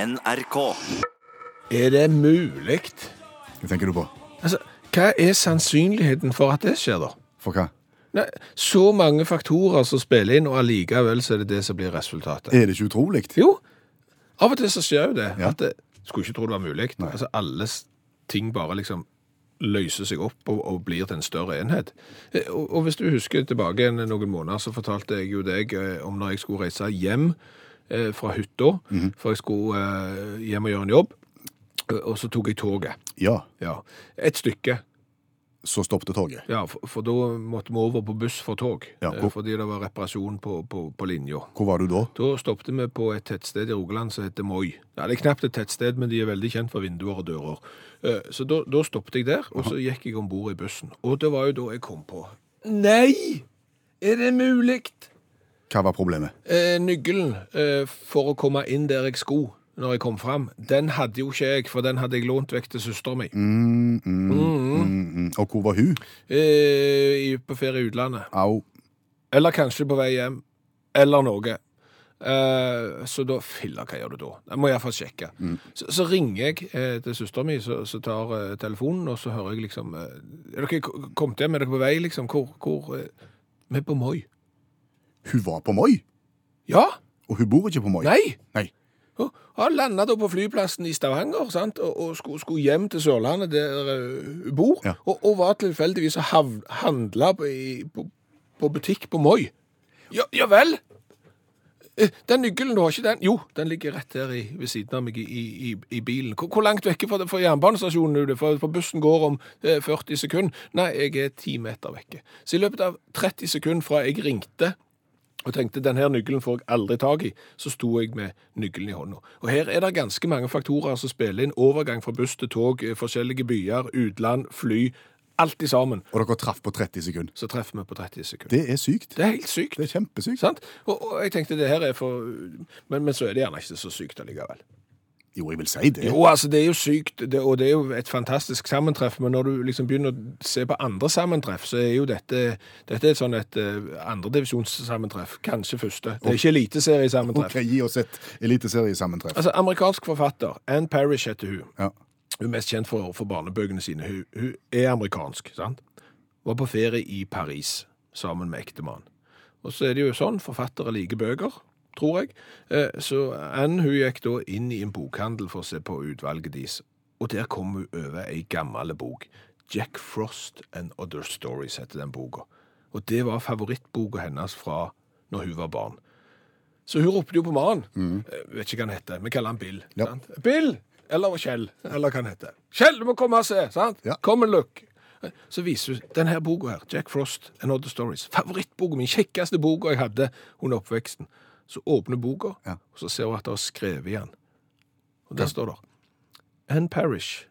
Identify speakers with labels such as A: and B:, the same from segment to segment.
A: NRK.
B: Er det mulig?
C: Hva tenker du på?
B: Altså, hva er sannsynligheten for at det skjer, da?
C: For hva?
B: Nei, så mange faktorer som spiller inn, og allikevel så er det det som blir resultatet.
C: Er det ikke utrolig?
B: Jo, av og til så skjer jo det.
C: Ja.
B: At det skulle ikke tro det var mulig.
C: Nei.
B: Altså, alle s- ting bare liksom løser seg opp og, og blir til en større enhet. Eh, Og, og hvis du husker tilbake en, noen måneder, så fortalte jeg jo deg eh, om når jeg skulle reise hjem eh, fra hytta, for jeg skulle eh, hjem og gjøre en jobb, og- og så tok jeg toget.
C: Ja.
B: Ja, et stykke.
C: Så stoppet toget.
B: Ja, for, for da måtte vi over på buss for tog,
C: Ja,
B: eh,
C: hvor-
B: fordi det var reparasjon på, på, på linja.
C: Hvor var du da?
B: Da stoppet vi på et tettsted i Rogaland som heter Moi. Ja, det er knapt et tettsted, men de er veldig kjent for vinduer og dører. Eh, Så da, da stoppet jeg der, og så gikk jeg om bord i bussen. Og det var jo da jeg kom på Nei! Er det mulig?
C: Hva var problemet?
B: Eh, Nøkkelen eh, for å komme inn der jeg skulle når jeg kom fram, den hadde jo ikke jeg, for den hadde jeg lånt vekk til søsteren min
C: Mm, mm, mm, mm. Og hvor var hun?
B: eh, i- på ferie i utlandet.
C: Au.
B: Eller kanskje på vei hjem. Eller noe. Eh, så da Filla, hva gjør du da? Jeg må iallfall sjekke. Så, så ringer jeg eh, til søsteren min, så, så tar eh, telefonen, og så hører jeg liksom eh, Er dere k- kommet hjem? Er dere på vei, liksom? Hvor, hvor eh, Vi er på Moi.
C: Hun var på Moi,
B: Ja!
C: og hun bor ikke på Moi.
B: Nei!
C: Nei.
B: Og Han landa da på flyplassen i Stavanger sant? og, og skulle, skulle hjem til Sørlandet, der eh, hun bor,
C: Ja.
B: og, og var tilfeldigvis og hav- handla på, i- på, på butikk på Moi. Ja, ja vel! Eh, Den nøkkelen, du har ikke den? Jo, den ligger rett her i, ved siden av meg i, i, i bilen. Hvor, hvor langt vekke fra, fra jernbanestasjonen er du? For, for bussen går om eh, 40 sekunder. Nei, jeg er 10 meter vekke. Så i løpet av 30 sekunder fra jeg ringte og tenkte den her nøkkelen får jeg aldri tak i, så sto jeg med nøkkelen i hånda. Og her er det ganske mange faktorer som spiller inn. Overgang fra buss til tog, eh, forskjellige byer, utland, fly. Alt i sammen.
C: Og dere traff på 30 sekunder.
B: Så treffer vi på 30 sekunder.
C: Det er sykt.
B: Det er helt sykt.
C: Det er kjempesykt.
B: Sant? Og, og jeg tenkte det her er for men, men så er det gjerne ikke så sykt allikevel.
C: Jo, jeg vil si det.
B: Jo, altså, det er jo sykt, det, og det er jo et fantastisk sammentreff, men når du liksom begynner å se på andre sammentreff, så er jo dette, dette er et sånn et eh, andredivisjonssammentreff. Kanskje første. Det er ikke eliteseriesammentreff.
C: Ok, gi oss et eliteseriesammentreff.
B: Altså, Amerikansk forfatter Anne Parrish heter hun.
C: Ja.
B: Hun er mest kjent for, for barnebøkene sine. Hun, hun er amerikansk, sant? Var på ferie i Paris sammen med ektemannen. Og så er det jo sånn, forfattere liker bøker, tror jeg. Eh, Så Anne hun gikk da inn i en bokhandel for å se på utvalget deres. Og der kom hun over ei gammel bok. Jack Frost and Other Stories heter den boka. Og det var favorittboka hennes fra når hun var barn. Så hun ropte jo på mannen. Eh, Vet ikke hva han heter. Vi kaller han Bill.
C: Mm. Ja.
B: Sant? Bill! Eller Kjell. Eller hva han heter. Kjell, du må komme og se! sant?
C: Ja.
B: Kom en look! Så viser hun denne her boka her, Jack Frost and Other Stories. Favorittboka min, kjekkeste boka jeg hadde under oppveksten. Så åpner boka,
C: Ja.
B: og så ser hun at det er skrevet i den. Og der står det Ann Parish,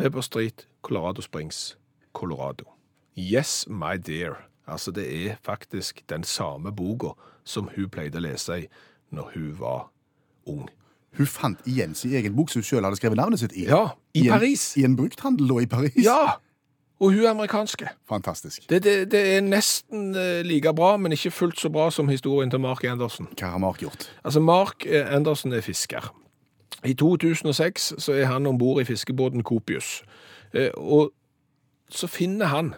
B: Weber Street, Colorado Springs, Colorado. Yes, my dear. Altså, det er faktisk den samme boka som hun pleide å lese i når hun var ung.
C: Hun fant igjen sin egen bok som hun selv hadde skrevet navnet sitt i.
B: Ja, i
C: en,
B: Paris.
C: I en brukthandel da, i Paris.
B: Ja! Og hun er amerikanske.
C: Fantastisk.
B: Det, det, det er nesten eh, like bra, men ikke fullt så bra som historien til Mark Andersen.
C: Hva har Mark gjort?
B: Altså, Mark eh, Andersen er fisker. I 2006 så er han ombord i fiskebåten Copius. Eh, Og så finner han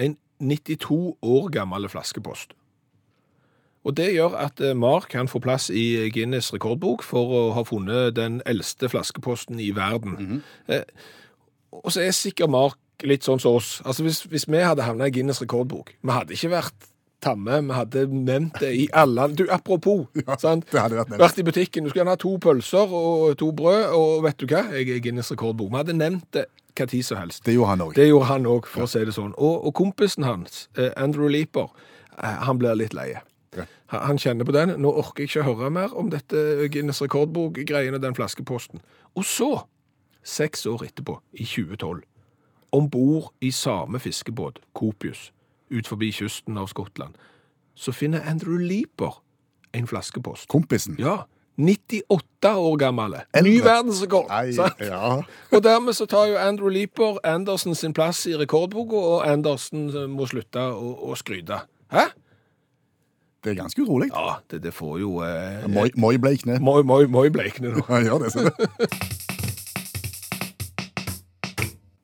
B: en 92 år gammel flaskepost. Og det gjør at eh, Mark han får plass i eh, Guinness rekordbok for å ha funnet den eldste flaskeposten i verden.
C: Mhm.
B: Eh, Og så er sikkert Mark litt sånn som oss. Altså Hvis, hvis vi hadde havna i Guinness rekordbok Vi hadde ikke vært tamme, vi hadde nevnt det i alle Du, apropos. sant?
C: det hadde vært nevnt.
B: vært i butikken. Du skulle gjerne ha to pølser og to brød, og vet du hva? Jeg er Guinness rekordbok. Vi hadde nevnt det hva tid som helst.
C: Det gjorde han òg.
B: Det gjorde han òg, for å si det sånn. Og, og kompisen hans, eh, Andrew Leaper, eh, han blir litt leie.
C: Ja.
B: Han han kjenner på den. Nå orker jeg ikke høre mer om dette Guinness rekordbok-greiene, den flaskeposten. Og så, seks år etterpå, i 2012, om bord i samme fiskebåt, Copius, ut forbi kysten av Skottland, så finner Andrew Leaper en flaskepost.
C: Kompisen.
B: Ja, 98 år gammel. Ny
C: Eldre.
B: verdensrekord.
C: Nei,
B: sant?
C: ja.
B: Og dermed så tar jo Andrew Leaper Andersen sin plass eh, i rekordboka, og Andersen må slutte å, å skryte. Hæ?
C: Det er ganske urolig.
B: Ja, det, det får jo eh,
C: Moi, moi bleikne.
B: Moi, moi, moi bleikne nå.
C: Han gjør det, ser du.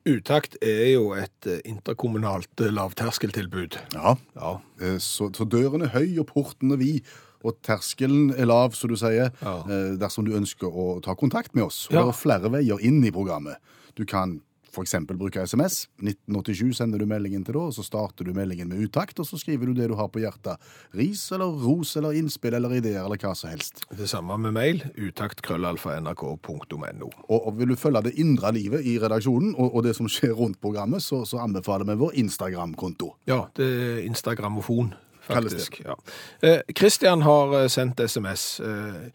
B: Utakt er jo et eh, interkommunalt eh, lavterskeltilbud.
C: Ja.
B: Ja.
C: Eh, Så, så døren er høy, og porten er vid, og terskelen er lav, som du sier,
B: Ja.
C: eh, dersom du ønsker å ta kontakt med oss. Og
B: Ja.
C: Det er flere veier inn i programmet. Du kan f.eks. bruke SMS. 1987 sender du meldingen til da, og så starter du meldingen med utakt, og så skriver du det du har på hjertet. Ris eller ros eller innspill eller ideer eller hva som helst.
B: Det samme med mail. Utakt.krøllalfa.nrk.no.
C: Og, og vil du følge det indre livet i redaksjonen og, og det som skjer rundt programmet, så, så anbefaler vi vår Instagram-konto.
B: Ja, det er Instagramofon,
C: Kalles det.
B: faktisk. Ja. Eh, Christian har eh, sendt SMS, eh,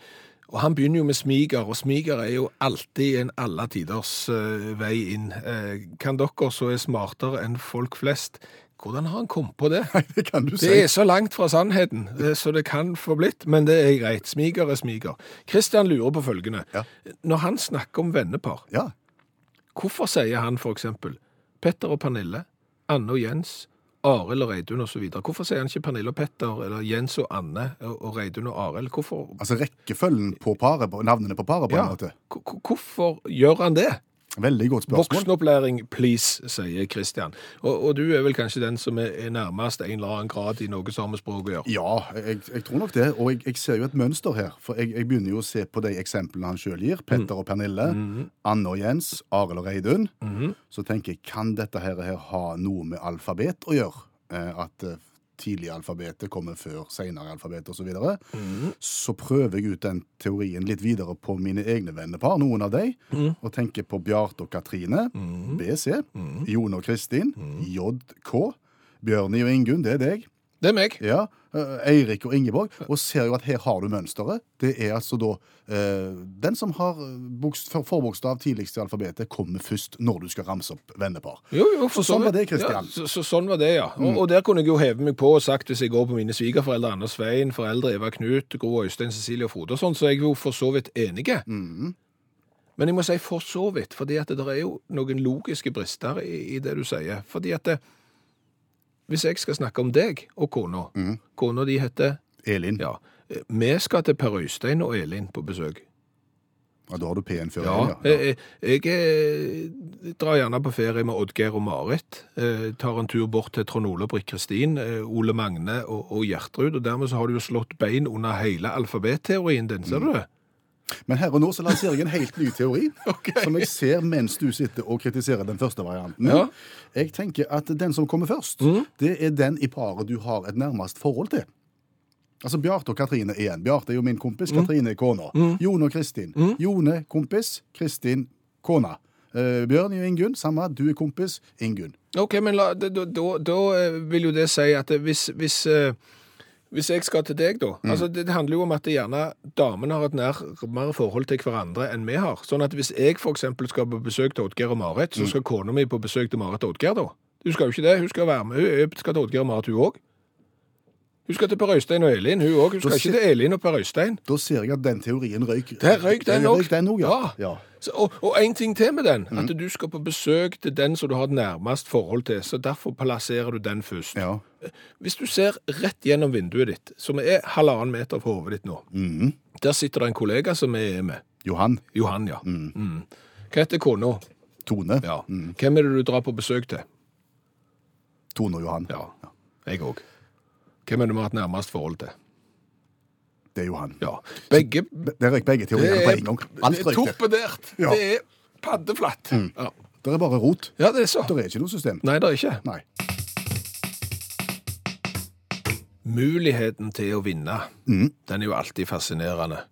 B: og han begynner jo med smiger, og smiger er jo alltid en alle tiders eh, vei inn. Eh, kan dere så er smartere enn folk flest? Hvordan har han kommet på det?
C: Det kan du
B: Det
C: si.
B: er så langt fra sannheten, eh, så det kan få blitt, men det er greit. Smiger er smiger. Christian lurer på følgende.
C: Ja.
B: Når han snakker om vennepar,
C: Ja.
B: Hvorfor sier han for eksempel Petter og Pernille, Anne og Jens, Arild og Reidun og så videre? Hvorfor sier han ikke Pernille og Petter, eller Jens og Anne og og Reidun og Arild? Hvorfor,
C: Altså rekkefølgen på paret, på- navnene på paret, på
B: ja,
C: en måte.
B: hvor- hvor- hvorfor gjør han det?
C: Veldig godt spørsmål.
B: Voksenopplæring, please, sier Kristian. Og, og du er vel kanskje den som er er nærmest en eller annen grad i noe som har med språk å gjøre?
C: Ja, jeg, jeg tror nok det. Og jeg, jeg ser jo et mønster her. For jeg, jeg begynner jo å se på de eksemplene han sjøl gir. Petter og Pernille,
B: Mm. Mhm,
C: Anne og Jens, Arild og Reidun. Så tenker jeg, kan dette her, her ha noe med alfabet å gjøre? Eh, at eh, tidlig alfabetet kommer før senere alfabet osv. Så, videre. så prøver jeg ut den teorien litt videre på mine egne vennepar, noen av de, og tenker på Bjarte og Katrine, BC, Jone og Kristin, JK, Bjørni og Ingunn, det er deg.
B: Det er meg.
C: Ja, eh, Eirik og Ingeborg, og ser jo at her har du mønsteret. Det er altså da eh, Den som har eh, bokst, for- forbokstav tidligst i alfabetet, kommer først når du skal ramse opp vennepar.
B: Jo, jo, for
C: Så
B: vidt.
C: sånn var det, Mm. Kristian.
B: Ja, så, så, sånn var det, ja. Og, og der kunne jeg jo heve meg på og sagt, hvis jeg går på mine svigerforeldre, Anders Svein, foreldre Eva Knut, Gro Øystein, Cecilie og Frode og sånn, så er jeg jo for så vidt enige. Men jeg må si for så vidt, fordi at det der er jo noen logiske brister i, i det du sier. Fordi at det, hvis jeg skal snakke om deg og kona,
C: Mm.
B: kona di heter,
C: Elin. Ja.
B: ja, eh, vi skal til Per Øystein og Elin på besøk.
C: Da har du P-en før
B: Ja,
C: Elin, ja.
B: Jeg, jeg, eh, drar gjerne på ferie med Oddgeir og Marit. Eh, tar en tur bort til Trond Ole Brikk Kristin, eh, Ole Magne og, og Gjertrud. Og dermed så har du jo slått bein under hele alfabetteorien din, ser du det?
C: Men her og nå så lanserer jeg en helt ny teori, som jeg ser mens du sitter og kritiserer den første varianten.
B: Ja. Mhm.
C: Jeg tenker at den som kommer først, det er den i paret du har et nærmest forhold til. Altså Bjarte og Katrine igjen. Bjarte er jo min kompis,
B: Mhm.
C: Katrine er kona. Jone og Kristin. Jone kompis, Kristin kona. Eh, Bjørn og Ingunn, samme. Du er kompis, Ingunn.
B: Ok, men la, da, da, da- da eh, vil jo det si at eh, hvis, hvis, eh, hvis jeg skal til deg, da altså Det det handler jo om at det gjerne damene har et nærmere forhold til hverandre enn vi har. Sånn at hvis jeg f.eks. skal på besøk til Oddgeir og Marit, så skal kona mi på besøk til Marit og Oddgeir, da. Hun skal jo ikke det. Hun skal være med. Hun er- skal til Oddgeir og Marit, hun òg. Hun skal til Per Øystein og Elin, hun òg. Hun skal ikke
C: sit-
B: til Elin og Per Øystein.
C: Da ser jeg at den teorien røyk.
B: Der røyk den
C: Der
B: også.
C: røyk den også, ja.
B: Ja.
C: ja.
B: Så, og, og en ting til med den, at du skal på besøk til den som du har et nærmest forhold til, så derfor plasserer du den først.
C: ja.
B: Hvis du ser rett gjennom vinduet ditt, som er halvannen meter fra hovedet ditt nå,
C: Mm.
B: der sitter det en kollega som vi er med.
C: Johan.
B: Johan, ja. Mm. Hva heter kona?
C: Tone.
B: Ja. Hvem er det du drar på besøk til?
C: Tone og Johan.
B: Ja. Jeg òg. Hvem er det vi har hatt nærmest forhold til?
C: Det er Johan.
B: Ja. Begge
C: Der røyk begge teoriene på en gang.
B: det
C: Alt
B: er
C: røyk der.
B: torpedert.
C: Ja. Mm.
B: Det er paddeflatt. Ja.
C: Det er bare rot.
B: ja, det er så.
C: Det er ikke noe system.
B: Nei, det er ikke.
C: Nei.
B: Muligheten til å vinne,
C: Mm.
B: den er jo alltid fascinerende.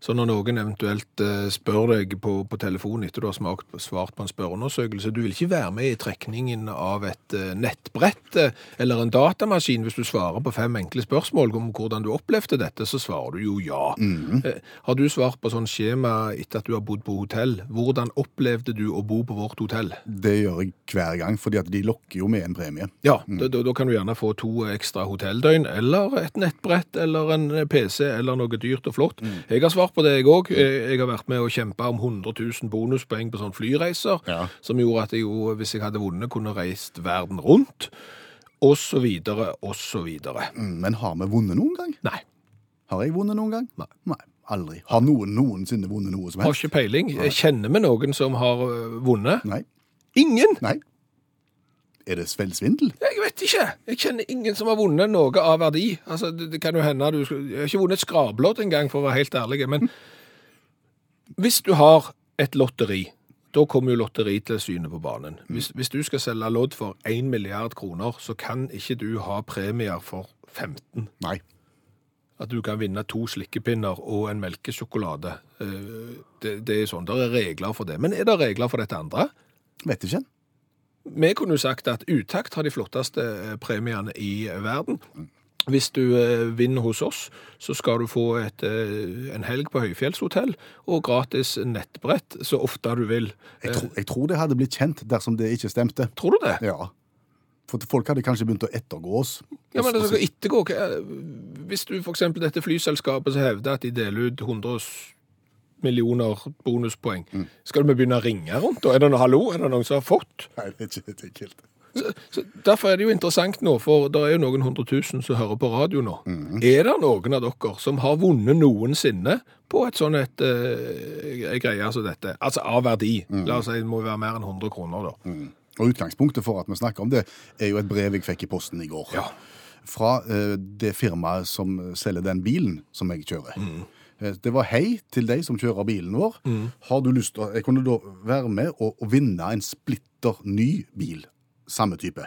B: Så når noen eventuelt eh, spør deg på, på telefon etter du har smakt, svart på en spørreundersøkelse, du vil ikke være med i trekningen av et eh, nettbrett eh, eller en datamaskin hvis du svarer på fem enkle spørsmål om hvordan du opplevde dette, så svarer du jo ja. Eh, Har du svart på sånn skjema etter at du har bodd på hotell? Hvordan opplevde du å bo på vårt hotell?
C: Det gjør jeg hver gang, fordi at de lokker jo med en premie.
B: Ja, da, da, da kan du gjerne få to ekstra hotelldøgn, eller et nettbrett, eller en PC, eller noe dyrt og flott. Jeg har svart på det, jeg òg. Jeg har vært med å kjempe om 100 000 bonuspoeng på sånne flyreiser,
C: Ja.
B: som gjorde at jeg jo, hvis jeg hadde vunnet, kunne reist verden rundt. og så videre, og så videre.
C: Mm, Men har vi vunnet noen gang?
B: Nei.
C: Har jeg vunnet noen gang?
B: Nei.
C: aldri. Har noen noensinne vunnet noe som
B: Har
C: helst?
B: ikke peiling. Kjenner vi noen som har øh, vunnet?
C: Nei.
B: Ingen!
C: Nei. Er det svelsvindel?
B: Jeg vet ikke. Jeg kjenner ingen som har vunnet noe av verdi. Altså, det, det kan jo hende du skal- Jeg har ikke vunnet et skrablodd engang, for å være helt ærlig. Men hvis du har et lotteri, da kommer jo lotteri til syne på banen. Hvis, hvis du skal selge lodd for 1 milliard kroner, så kan ikke du ha premier for 15.
C: Nei.
B: At du kan vinne to slikkepinner og en melkesjokolade. Eh, Det, det er sånn. Det er regler for det. Men er det regler for dette andre?
C: Vet ikke.
B: Vi kunne jo sagt at Utakt har de flotteste eh, premiene i eh, verden. Hvis du eh, vinner hos oss, så skal du få et, eh, en helg på høyfjellshotell og gratis nettbrett så ofte du vil.
C: Jeg, tro, jeg tror det hadde blitt kjent dersom det ikke stemte.
B: Tror du det?
C: Ja. For folk hadde kanskje begynt å ettergå oss.
B: Ja, men
C: Og
B: det
C: så-
B: skal ettergå. hva er det? Hvis du for eksempel dette flyselskapet som hevder at de deler ut 100 millioner bonuspoeng, skal du begynne å ringe rundt da? Er det noe hallo? Er det noen som har fått?
C: Nei, det er ikke det er ikke helt.
B: Så, så derfor er det jo interessant nå, for det er jo noen hundre tusen som hører på radio nå. Er det noen av dere som har vunnet noensinne på et sånn et eh, greie som dette? Altså av verdi. La oss si det må være mer enn 100 kroner da.
C: Og utgangspunktet for at vi snakker om det, er jo et brev jeg fikk i posten i går.
B: Ja.
C: Fra eh, det firmaet som selger den bilen som jeg kjører. Eh, Det var hei til deg som kjører bilen vår. Har du lyst til å Jeg kunne da være med og, og vinne en splitter ny bil. Samme type.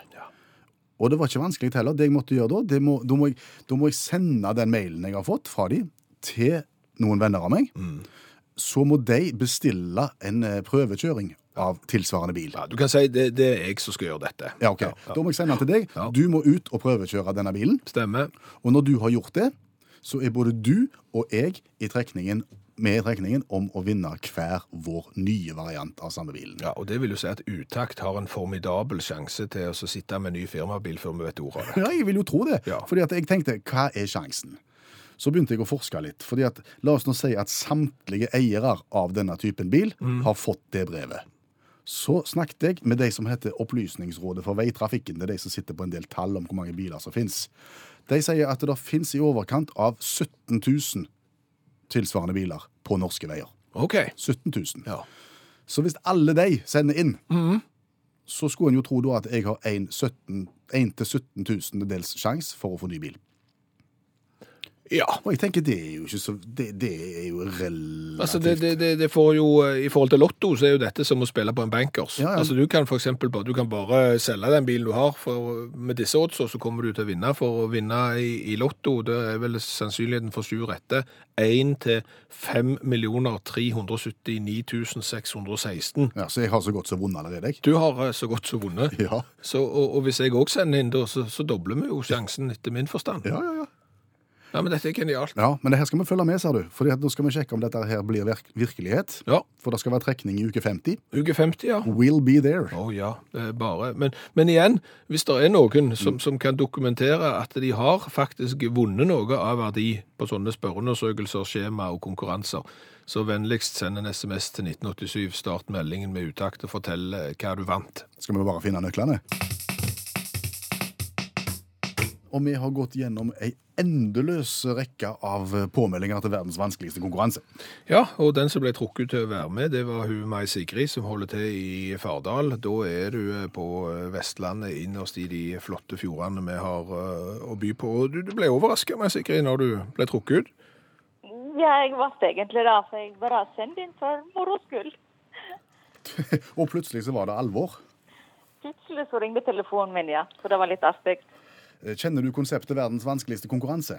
C: Og det var ikke vanskelig heller. Det jeg måtte gjøre da, det må, da, må jeg, da må jeg sende den mailen jeg har fått fra de, til noen venner av meg. Så må de bestille en eh, prøvekjøring av tilsvarende bil.
B: Ja, du kan si det, det er jeg som skal gjøre dette.
C: Ja, ok. Da må jeg sende den til deg.
B: Ja.
C: Du må ut og prøvekjøre denne bilen.
B: Stemmer.
C: Og når du har gjort det, så er både du og jeg i trekningen, med i trekningen om å vinne hver vår nye variant av samme bilen.
B: Ja, og det vil jo si at utakt har en formidabel sjanse til å så sitte med ny firmabil før vi vet ordet av det.
C: Ja, jeg vil jo tro det.
B: Ja.
C: Fordi at jeg tenkte, hva er sjansen? Så begynte jeg å forske litt. fordi at, La oss nå si at samtlige eiere av denne typen bil
B: Mm.
C: har fått det brevet. Så snakket jeg med de som heter Opplysningsrådet for veitrafikken. Det er de som sitter på en del tall om hvor mange biler som finnes. De sier at det finnes i overkant av 17 000 tilsvarende biler på norske veier.
B: Ok.
C: 17 000.
B: Ja.
C: Så hvis alle de sender inn, så skulle en jo tro da at jeg har 1-17 tusendels sjanse for å få ny bil.
B: Ja.
C: Og jeg tenker det er jo ikke så Det, det er jo relativt
B: Altså, det, det, det, det får jo, eh, I forhold til Lotto så er jo dette som å spille på en bankers.
C: Ja, ja.
B: Altså, Du kan for eksempel bare, du kan bare selge den bilen du har, for med disse odds, og så kommer du til å vinne. For å vinne i, i Lotto det er vel sannsynligheten for sju rette 1 til 5 379 616.
C: Ja, Så jeg har så godt som vunnet allerede, jeg.
B: Du har eh, så godt som vunnet.
C: Ja.
B: Så, og, og hvis jeg òg sender inn, da, så, så dobler vi jo sjansen, etter min forstand.
C: Ja, ja, ja.
B: Nei, men dette er genialt.
C: ja, Men det her skal vi følge med, ser du. For nå skal vi sjekke om dette her blir virk virkelighet.
B: Ja,
C: For det skal være trekning i uke 50.
B: uke 50, ja.
C: Will be there.
B: Å ja, eh, bare. Men, men igjen, hvis det er noen som, som kan dokumentere at de har faktisk vunnet noe av verdi på sånne spørreundersøkelser, skjema og konkurranser, så vennligst send en SMS til 1987, start meldingen med utakt og fortell eh, hva du vant.
C: Skal vi bare finne nøklene? Og vi har gått gjennom ei endeløs rekke av påmeldinger til verdens vanskeligste konkurranse.
B: Ja, og den som ble trukket til å være med, det var hun Mai Sigrid, som holder til i Fardal. Da er du eh, på eh, Vestlandet, innerst i de flotte fjordene vi har eh, å by på. Og Du, du ble overrasket, Mai Sigrid, når du ble trukket ut.
A: Ja, jeg ble egentlig det, for jeg bare sendte inn for moro skyld.
C: Og plutselig så var det alvor.
A: Plutselig så ringte telefonen min, ja. Så det var litt artig.
C: Kjenner du konseptet verdens vanskeligste konkurranse?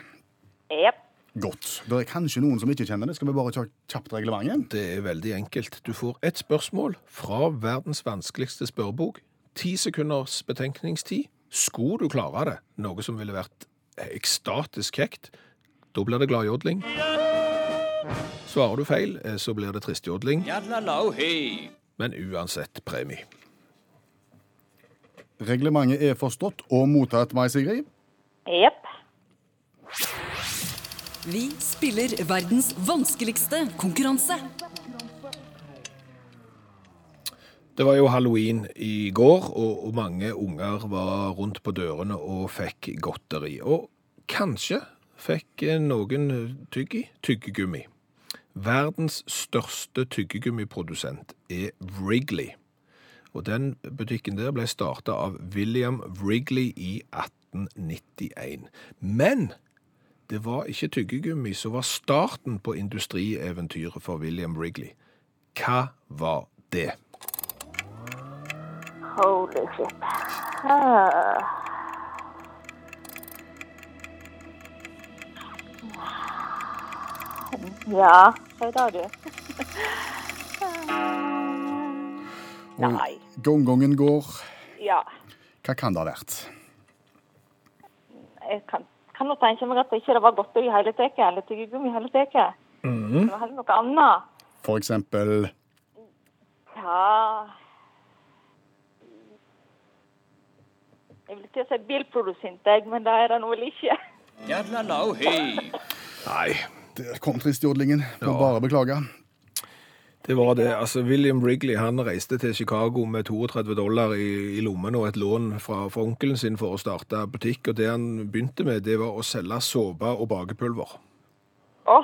A: Jepp.
C: Godt. Det er kanskje noen som ikke kjenner det. Skal vi bare ta kjapt reglementet?
B: Det er veldig enkelt. Du får ett spørsmål fra verdens vanskeligste spørrebok. Ti sekunders betenkningstid. Skulle du klare det, noe som ville vært ekstatisk kjekt, da blir det gladjodling. Svarer du feil, eh, så blir det tristjodling,
D: Yadlalau hey.
B: men uansett premie.
C: Reglementet er forstått og mottatt, Mai Sigrid.
A: Jepp.
E: Vi spiller verdens vanskeligste konkurranse.
B: Det var jo halloween i går, og, og mange unger var rundt på dørene og fikk godteri. Og kanskje fikk eh, noen tyggi tyggegummi. Verdens største tyggegummiprodusent er Wrigley. Og den butikken der ble starta av William Wrigley i 1891. Men det var ikke tyggegummi som var starten på industrieventyret for William Wrigley. Hva var det?
A: Holy shit. Ah. Ja, hva da du?
C: Og
A: Nei.
C: gongongen går.
A: Ja,
C: Hva kan det ha vært?
A: jeg kan, kan nå tenke meg at det ikke var godteri i hele tatt, eller tyggegummi i hele tatt. Det var heller noe annet.
C: For eksempel
A: Ja Jeg vil ikke si bilprodusent, jeg, men det er det nå vel ikke.
D: Yadlalau hei.
B: Nei,
C: Der kom tristjodlingen. Må bare beklage.
B: det var det. Altså, William Wrigley han reiste til Chicago med 32 dollar i, i lommen og et lån fra, fra onkelen sin for å starte butikk, og det han begynte med, det var å selge såpe og bakepulver.
A: Å,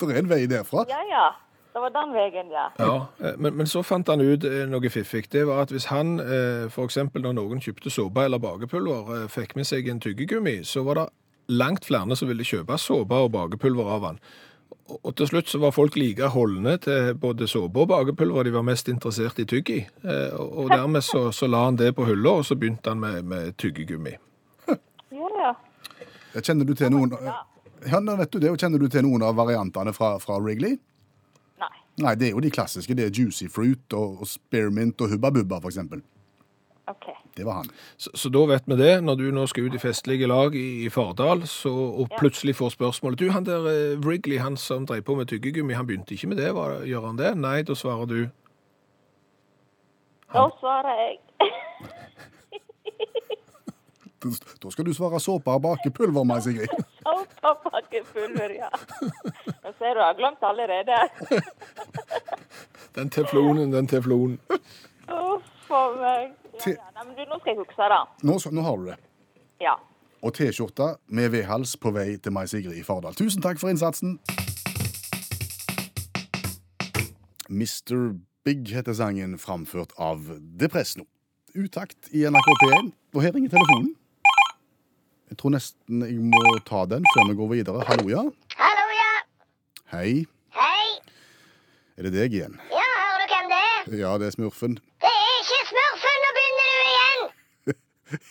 C: Det er en vei derfra.
A: ja ja. Det var den veien, ja.
B: Ja, eh, men, men så fant han ut eh, noe fiffig. Det var at hvis han, eh, for eksempel når noen kjøpte såpe eller bakepulver, eh, fikk med seg en tyggegummi, så var det langt flere som ville kjøpe såpe og bakepulver av han. Og, og til slutt så var folk like holdne til både såpe og bakepulver, de var mest interessert i tyggi. Eh, og, og dermed så, så la han det på hylla, og så begynte han med, med tyggegummi.
A: Ja ja.
C: Kjenner du til noen Ja, nå vet du det. Og Kjenner du til noen av variantene fra, fra Wrigley?
A: Nei.
C: Nei, det er jo de klassiske. Det er Juicy Fruit og, og Spearmint og Hubba Bubba, for eksempel.
A: OK.
C: Det var han.
B: Så, så da vet vi det. Når du nå skal ut i festlige lag i, i Fardal så, og plutselig får spørsmålet Du, han der eh, Wrigley, han som drev på med tyggegummi, han begynte ikke med det, hva, gjør han det? Nei, da svarer du
A: Da svarer jeg
C: Da da skal du svare såpe og bakepulver, Mai Sigrid.
A: Sopapakkefuller, ja. Nå ser du, jeg har glemt allerede.
B: Den teflonen, den teflonen.
A: Uff a meg. Ja, ja. Nei, men du, nå skal jeg huske det.
C: Nå, så- nå har du det.
A: Ja.
C: Og T-skjorte med V-hals på vei til Mai Sigrid i Fardal. Tusen takk for innsatsen. Mr. Big heter sangen, framført av Depresso. Utakt i NRK P1. Og her ringer telefonen. Jeg tror nesten jeg må ta den før vi går videre. Hallo, ja.
E: Hallo, ja.
C: Hei.
E: Hei.
C: Er det deg igjen?
E: Ja, hører du hvem det er?
C: Ja, det er Smurfen.
E: Det er ikke smurfen, nå begynner du igjen.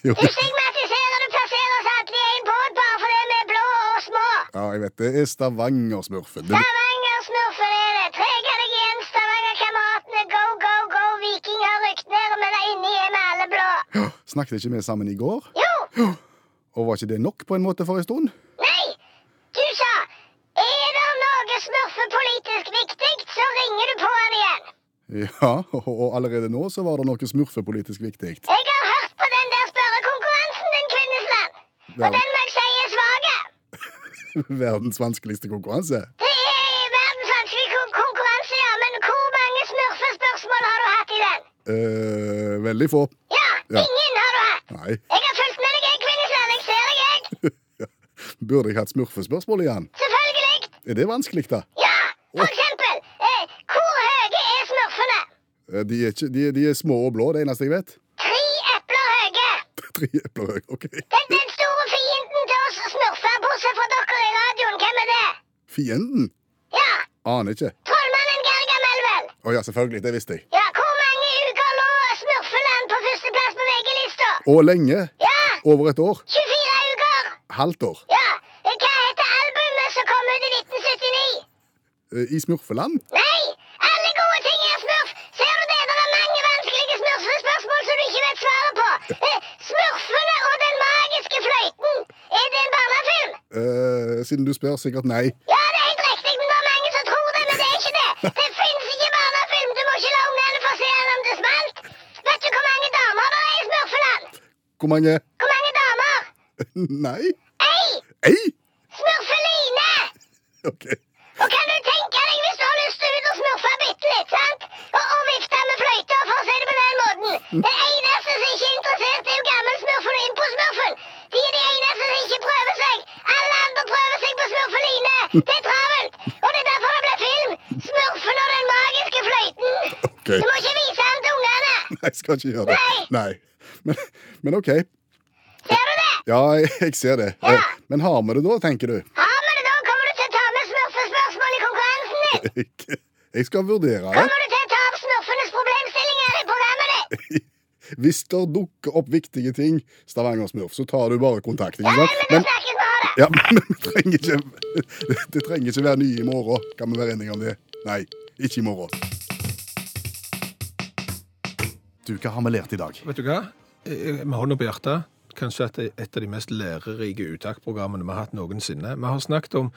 C: Jo,
E: Du stigmatiserer og plasserer oss alle i en båt bare fordi vi er blå og små.
C: ja, jeg vet det er Stavanger-Smurfen. Det-
E: Stavanger-smurfen er det. Trenger deg igjen, Stavanger-kameratene. Go, go, go. Viking har rykt ned, men der inne er vi alle blå.
C: Snakket ikke vi sammen i går?
E: Jo,
C: Og var ikke det nok på en måte for en stund?
E: nei. Du sa er det noe smurfepolitisk viktig, så ringer du på han igjen.
C: Ja, og allerede nå så var det noe smurfepolitisk viktig.
E: Jeg har hørt på den der spørrekonkurransen, din Kvinnesland. Og den må jeg si er svake.
C: Verdens vanskeligste konkurranse.
E: Det er verdens vanskelige kon konkurranse, ja. Men hvor mange smurfespørsmål har du hatt i den?
C: Eh, veldig få.
E: Ja,
C: Ja.
E: ingen har du hatt.
C: Nei,
E: Jeg har fulgt med deg, jeg, Kvinnesland. Jeg ser deg, jeg.
C: burde jeg hatt smurfespørsmål igjen?
E: Selvfølgelig.
C: Er det vanskelig, da?
E: Ja, for eksempel. Eh, hvor høye er smurfene?
C: Eh, De er, ikke, de, er- de er små og blå, det eneste jeg vet.
E: Tre epler høye.
C: Tre epler høy, OK.
E: Den, den store fienden til oss smurfer, bortsett fra dere i radioen, hvem er det?
C: Fienden?
E: Ja,
C: Aner ikke.
E: trollmannen Gargamel, vel?
C: Å ja, selvfølgelig, det visste jeg.
E: Ja, hvor mange uker lå smurfeland på førsteplass på VG-lista?
C: Og lenge.
E: Ja,
C: Over et år.
E: 24 uker.
C: Halvt år.
E: Ja, hva heter albumet som kom ut i 1979?
C: Eh, I Smurfeland?
E: Nei, alle gode ting er smurf. Ser du det? Det er mange vanskelige smurfespørsmål som du ikke vet svaret på. Eh, Smurfene og den magiske fløyten. Er det en barnefilm?
C: Eh, siden du spør, sikkert nei.
E: Ja, det er helt riktig, men det er mange som tror det, men det er ikke det. Det fins ikke barnefilm. Du må ikke la ungene få se den om det smalt. Vet du hvor mange damer det er i Smurfeland?
C: Hvor mange?
E: Hvor mange damer?
C: Nei?
E: Ei!
C: Ei?
E: Smurfeline!
C: OK.
E: Og kan du tenke deg hvis du har lyst til å ut og smurfe bitte litt, sant? Og, og vifte med fløyta for å si det Mm.
C: Ok.
E: Du må ikke vise den til ungene!
C: Nei, jeg skal ikke gjøre det. Nei. Men, men OK.
E: Ser du det?
C: Ja, jeg, jeg ser det.
E: Ja.
C: Men har vi det da, tenker du?
E: Har vi det, da kommer du til å ta med smurfespørsmål i konkurransen din!
C: Jeg, jeg skal vurdere det.
E: Kommer du til å ta opp smurfenes problemstillinger i programmet ditt?
C: Hvis det dukker opp viktige ting, Stavanger Smurf, så tar du bare kontakt. ikke
E: Ja,
C: sant?
E: men
C: Men,
E: du snakkes bare det!
C: ja, men vi trenger ikke, det trenger ikke være nye i morgen. Kan vi være enige om det? Nei, ikke i morgen. Du, hva har vi lært i dag?
B: Vet du hva? Eh, Med hånda på hjertet, kanskje at det er et av de mest lærerike uttaksprogrammene vi har hatt noensinne. Vi har snakket om,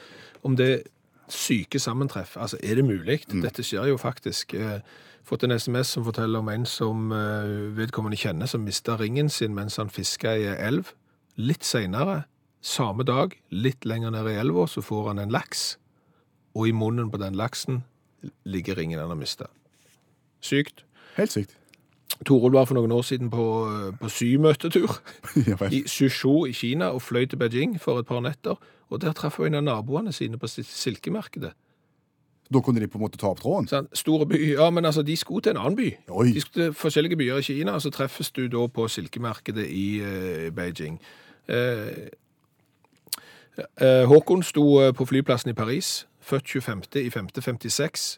B: om det syke sammentreff. Altså, er det mulig? Dette skjer jo faktisk. Eh, Fått en SMS som forteller om en som eh, vedkommende kjenner, som mista ringen sin mens han fiska i ei elv. Litt seinere, samme dag, litt lenger ned i elva, så får han en laks. Og i munnen på den laksen ligger ringen han har mista. Sykt.
C: Helt sykt.
B: Toril var for noen år siden på, eh, på symøtetur
C: Ja vel.
B: i Suzhou i Kina og fløy til Beijing for et par netter. og Der traff hun en av naboene sine på sil- silkemarkedet.
C: Da kunne de på en måte ta opp tråden?
B: Sånn, store by, ja, men altså, De skulle til en annen by.
C: Oi.
B: De skulle til forskjellige byer i Kina, og så treffes du da på silkemarkedet i eh, Beijing. Eh, eh, Håkon sto eh, på flyplassen i Paris, født 25. i 556.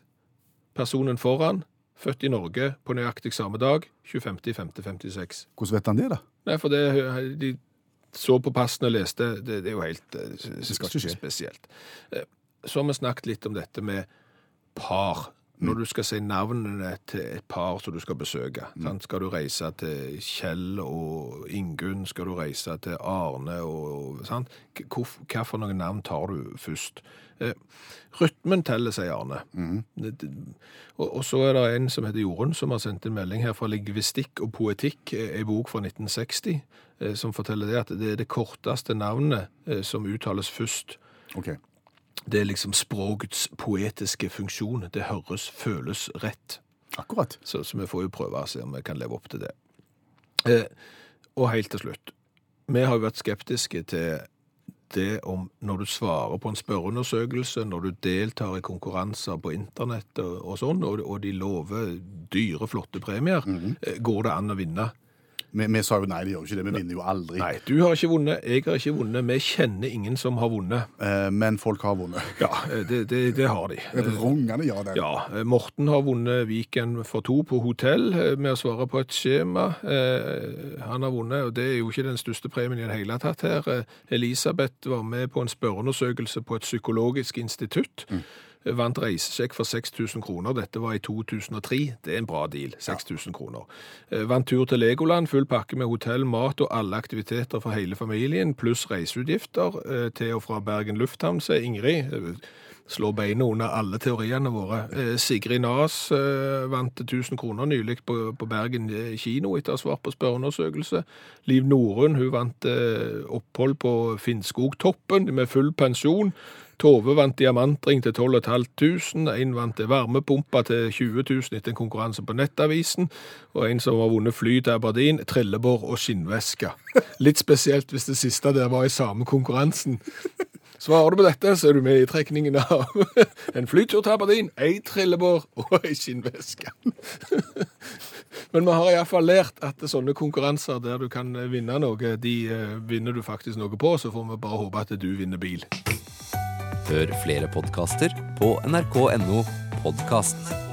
B: Personen foran, født i Norge på nøyaktig samme dag, 25. i 556.
C: Hvordan vet han det, da?
B: Nei, for det, eh, de så på passene og leste, det, det er jo helt eh, s-
C: skal ikke skje.
B: spesielt. Eh, Så har vi snakket litt om dette med par.
C: Mm.
B: Når du skal si navnene til et par som du skal besøke.
C: Mm.
B: Sant? Skal du reise til Kjell og Ingunn? Skal du reise til Arne og sant? K- Hvor, hva for noen navn tar du først? Eh, rytmen teller, sier Arne. Det- det- Og, og så er det en som heter Jorunn, som har sendt en melding her fra Lingvistikk og poetikk, eh, en bok fra 1960, eh, som forteller det at det er det korteste navnet eh, som uttales først.
C: Ok.
B: Det er liksom språkets poetiske funksjon. Det høres, føles rett.
C: Akkurat.
B: Så, så vi får jo prøve å se om vi kan leve opp til det. Eh, og helt til slutt. Vi har jo vært skeptiske til det om når du svarer på en spørreundersøkelse, når du deltar i konkurranser på internett og, og sånn, og, og de lover dyre, flotte premier, eh, går det an å vinne?
C: Vi, vi sa jo nei, de gjør jo ikke det. Vi vinner jo aldri.
B: Nei, du har ikke vunnet, jeg har ikke vunnet, vi kjenner ingen som har vunnet.
C: Eh, men folk har vunnet.
B: Ja, eh, det, det, det har de.
C: Et rungende ja der.
B: Ja, eh, Morten har vunnet Viken for to på hotell eh, med å svare på et skjema. Eh, Han har vunnet, og det er jo ikke den største premien i det hele tatt her. Eh, Elisabeth var med på en spørreundersøkelse på et psykologisk institutt. Eh, Vant reisesjekk for 6000 kroner. Dette var i 2003. Det er en bra deal. 6000 kroner. Eh, Vant tur til Legoland, full pakke med hotell, mat og alle aktiviteter for hele familien, pluss reiseutgifter eh, til og fra Bergen lufthavn, sier Ingrid. Eh, slå beina under alle teoriene våre. Eh, Sigrid Nas eh, vant 1000 kroner nylig på, på Bergen eh, kino etter å ha svart på spørreundersøkelse. Liv Norun hun vant eh, opphold på Finnskogtoppen med full pensjon. Tove vant diamantring til 12 500. En vant til varmepumpa til 20 000 etter en konkurranse på Nettavisen. Og en som har vunnet fly til Aberdeen, trillebår og skinnveske. Litt spesielt hvis det siste der var i samme konkurransen. Svarer du på dette, så er du med i trekningen av en flytur til Aberdeen, ei trillebår og ei skinnveske. Men vi har iallfall lært at sånne konkurranser der du kan vinne noe, de eh, vinner du faktisk noe på, så får vi bare håpe at du vinner bil.
F: Hør flere podkaster på nrk.no podkast.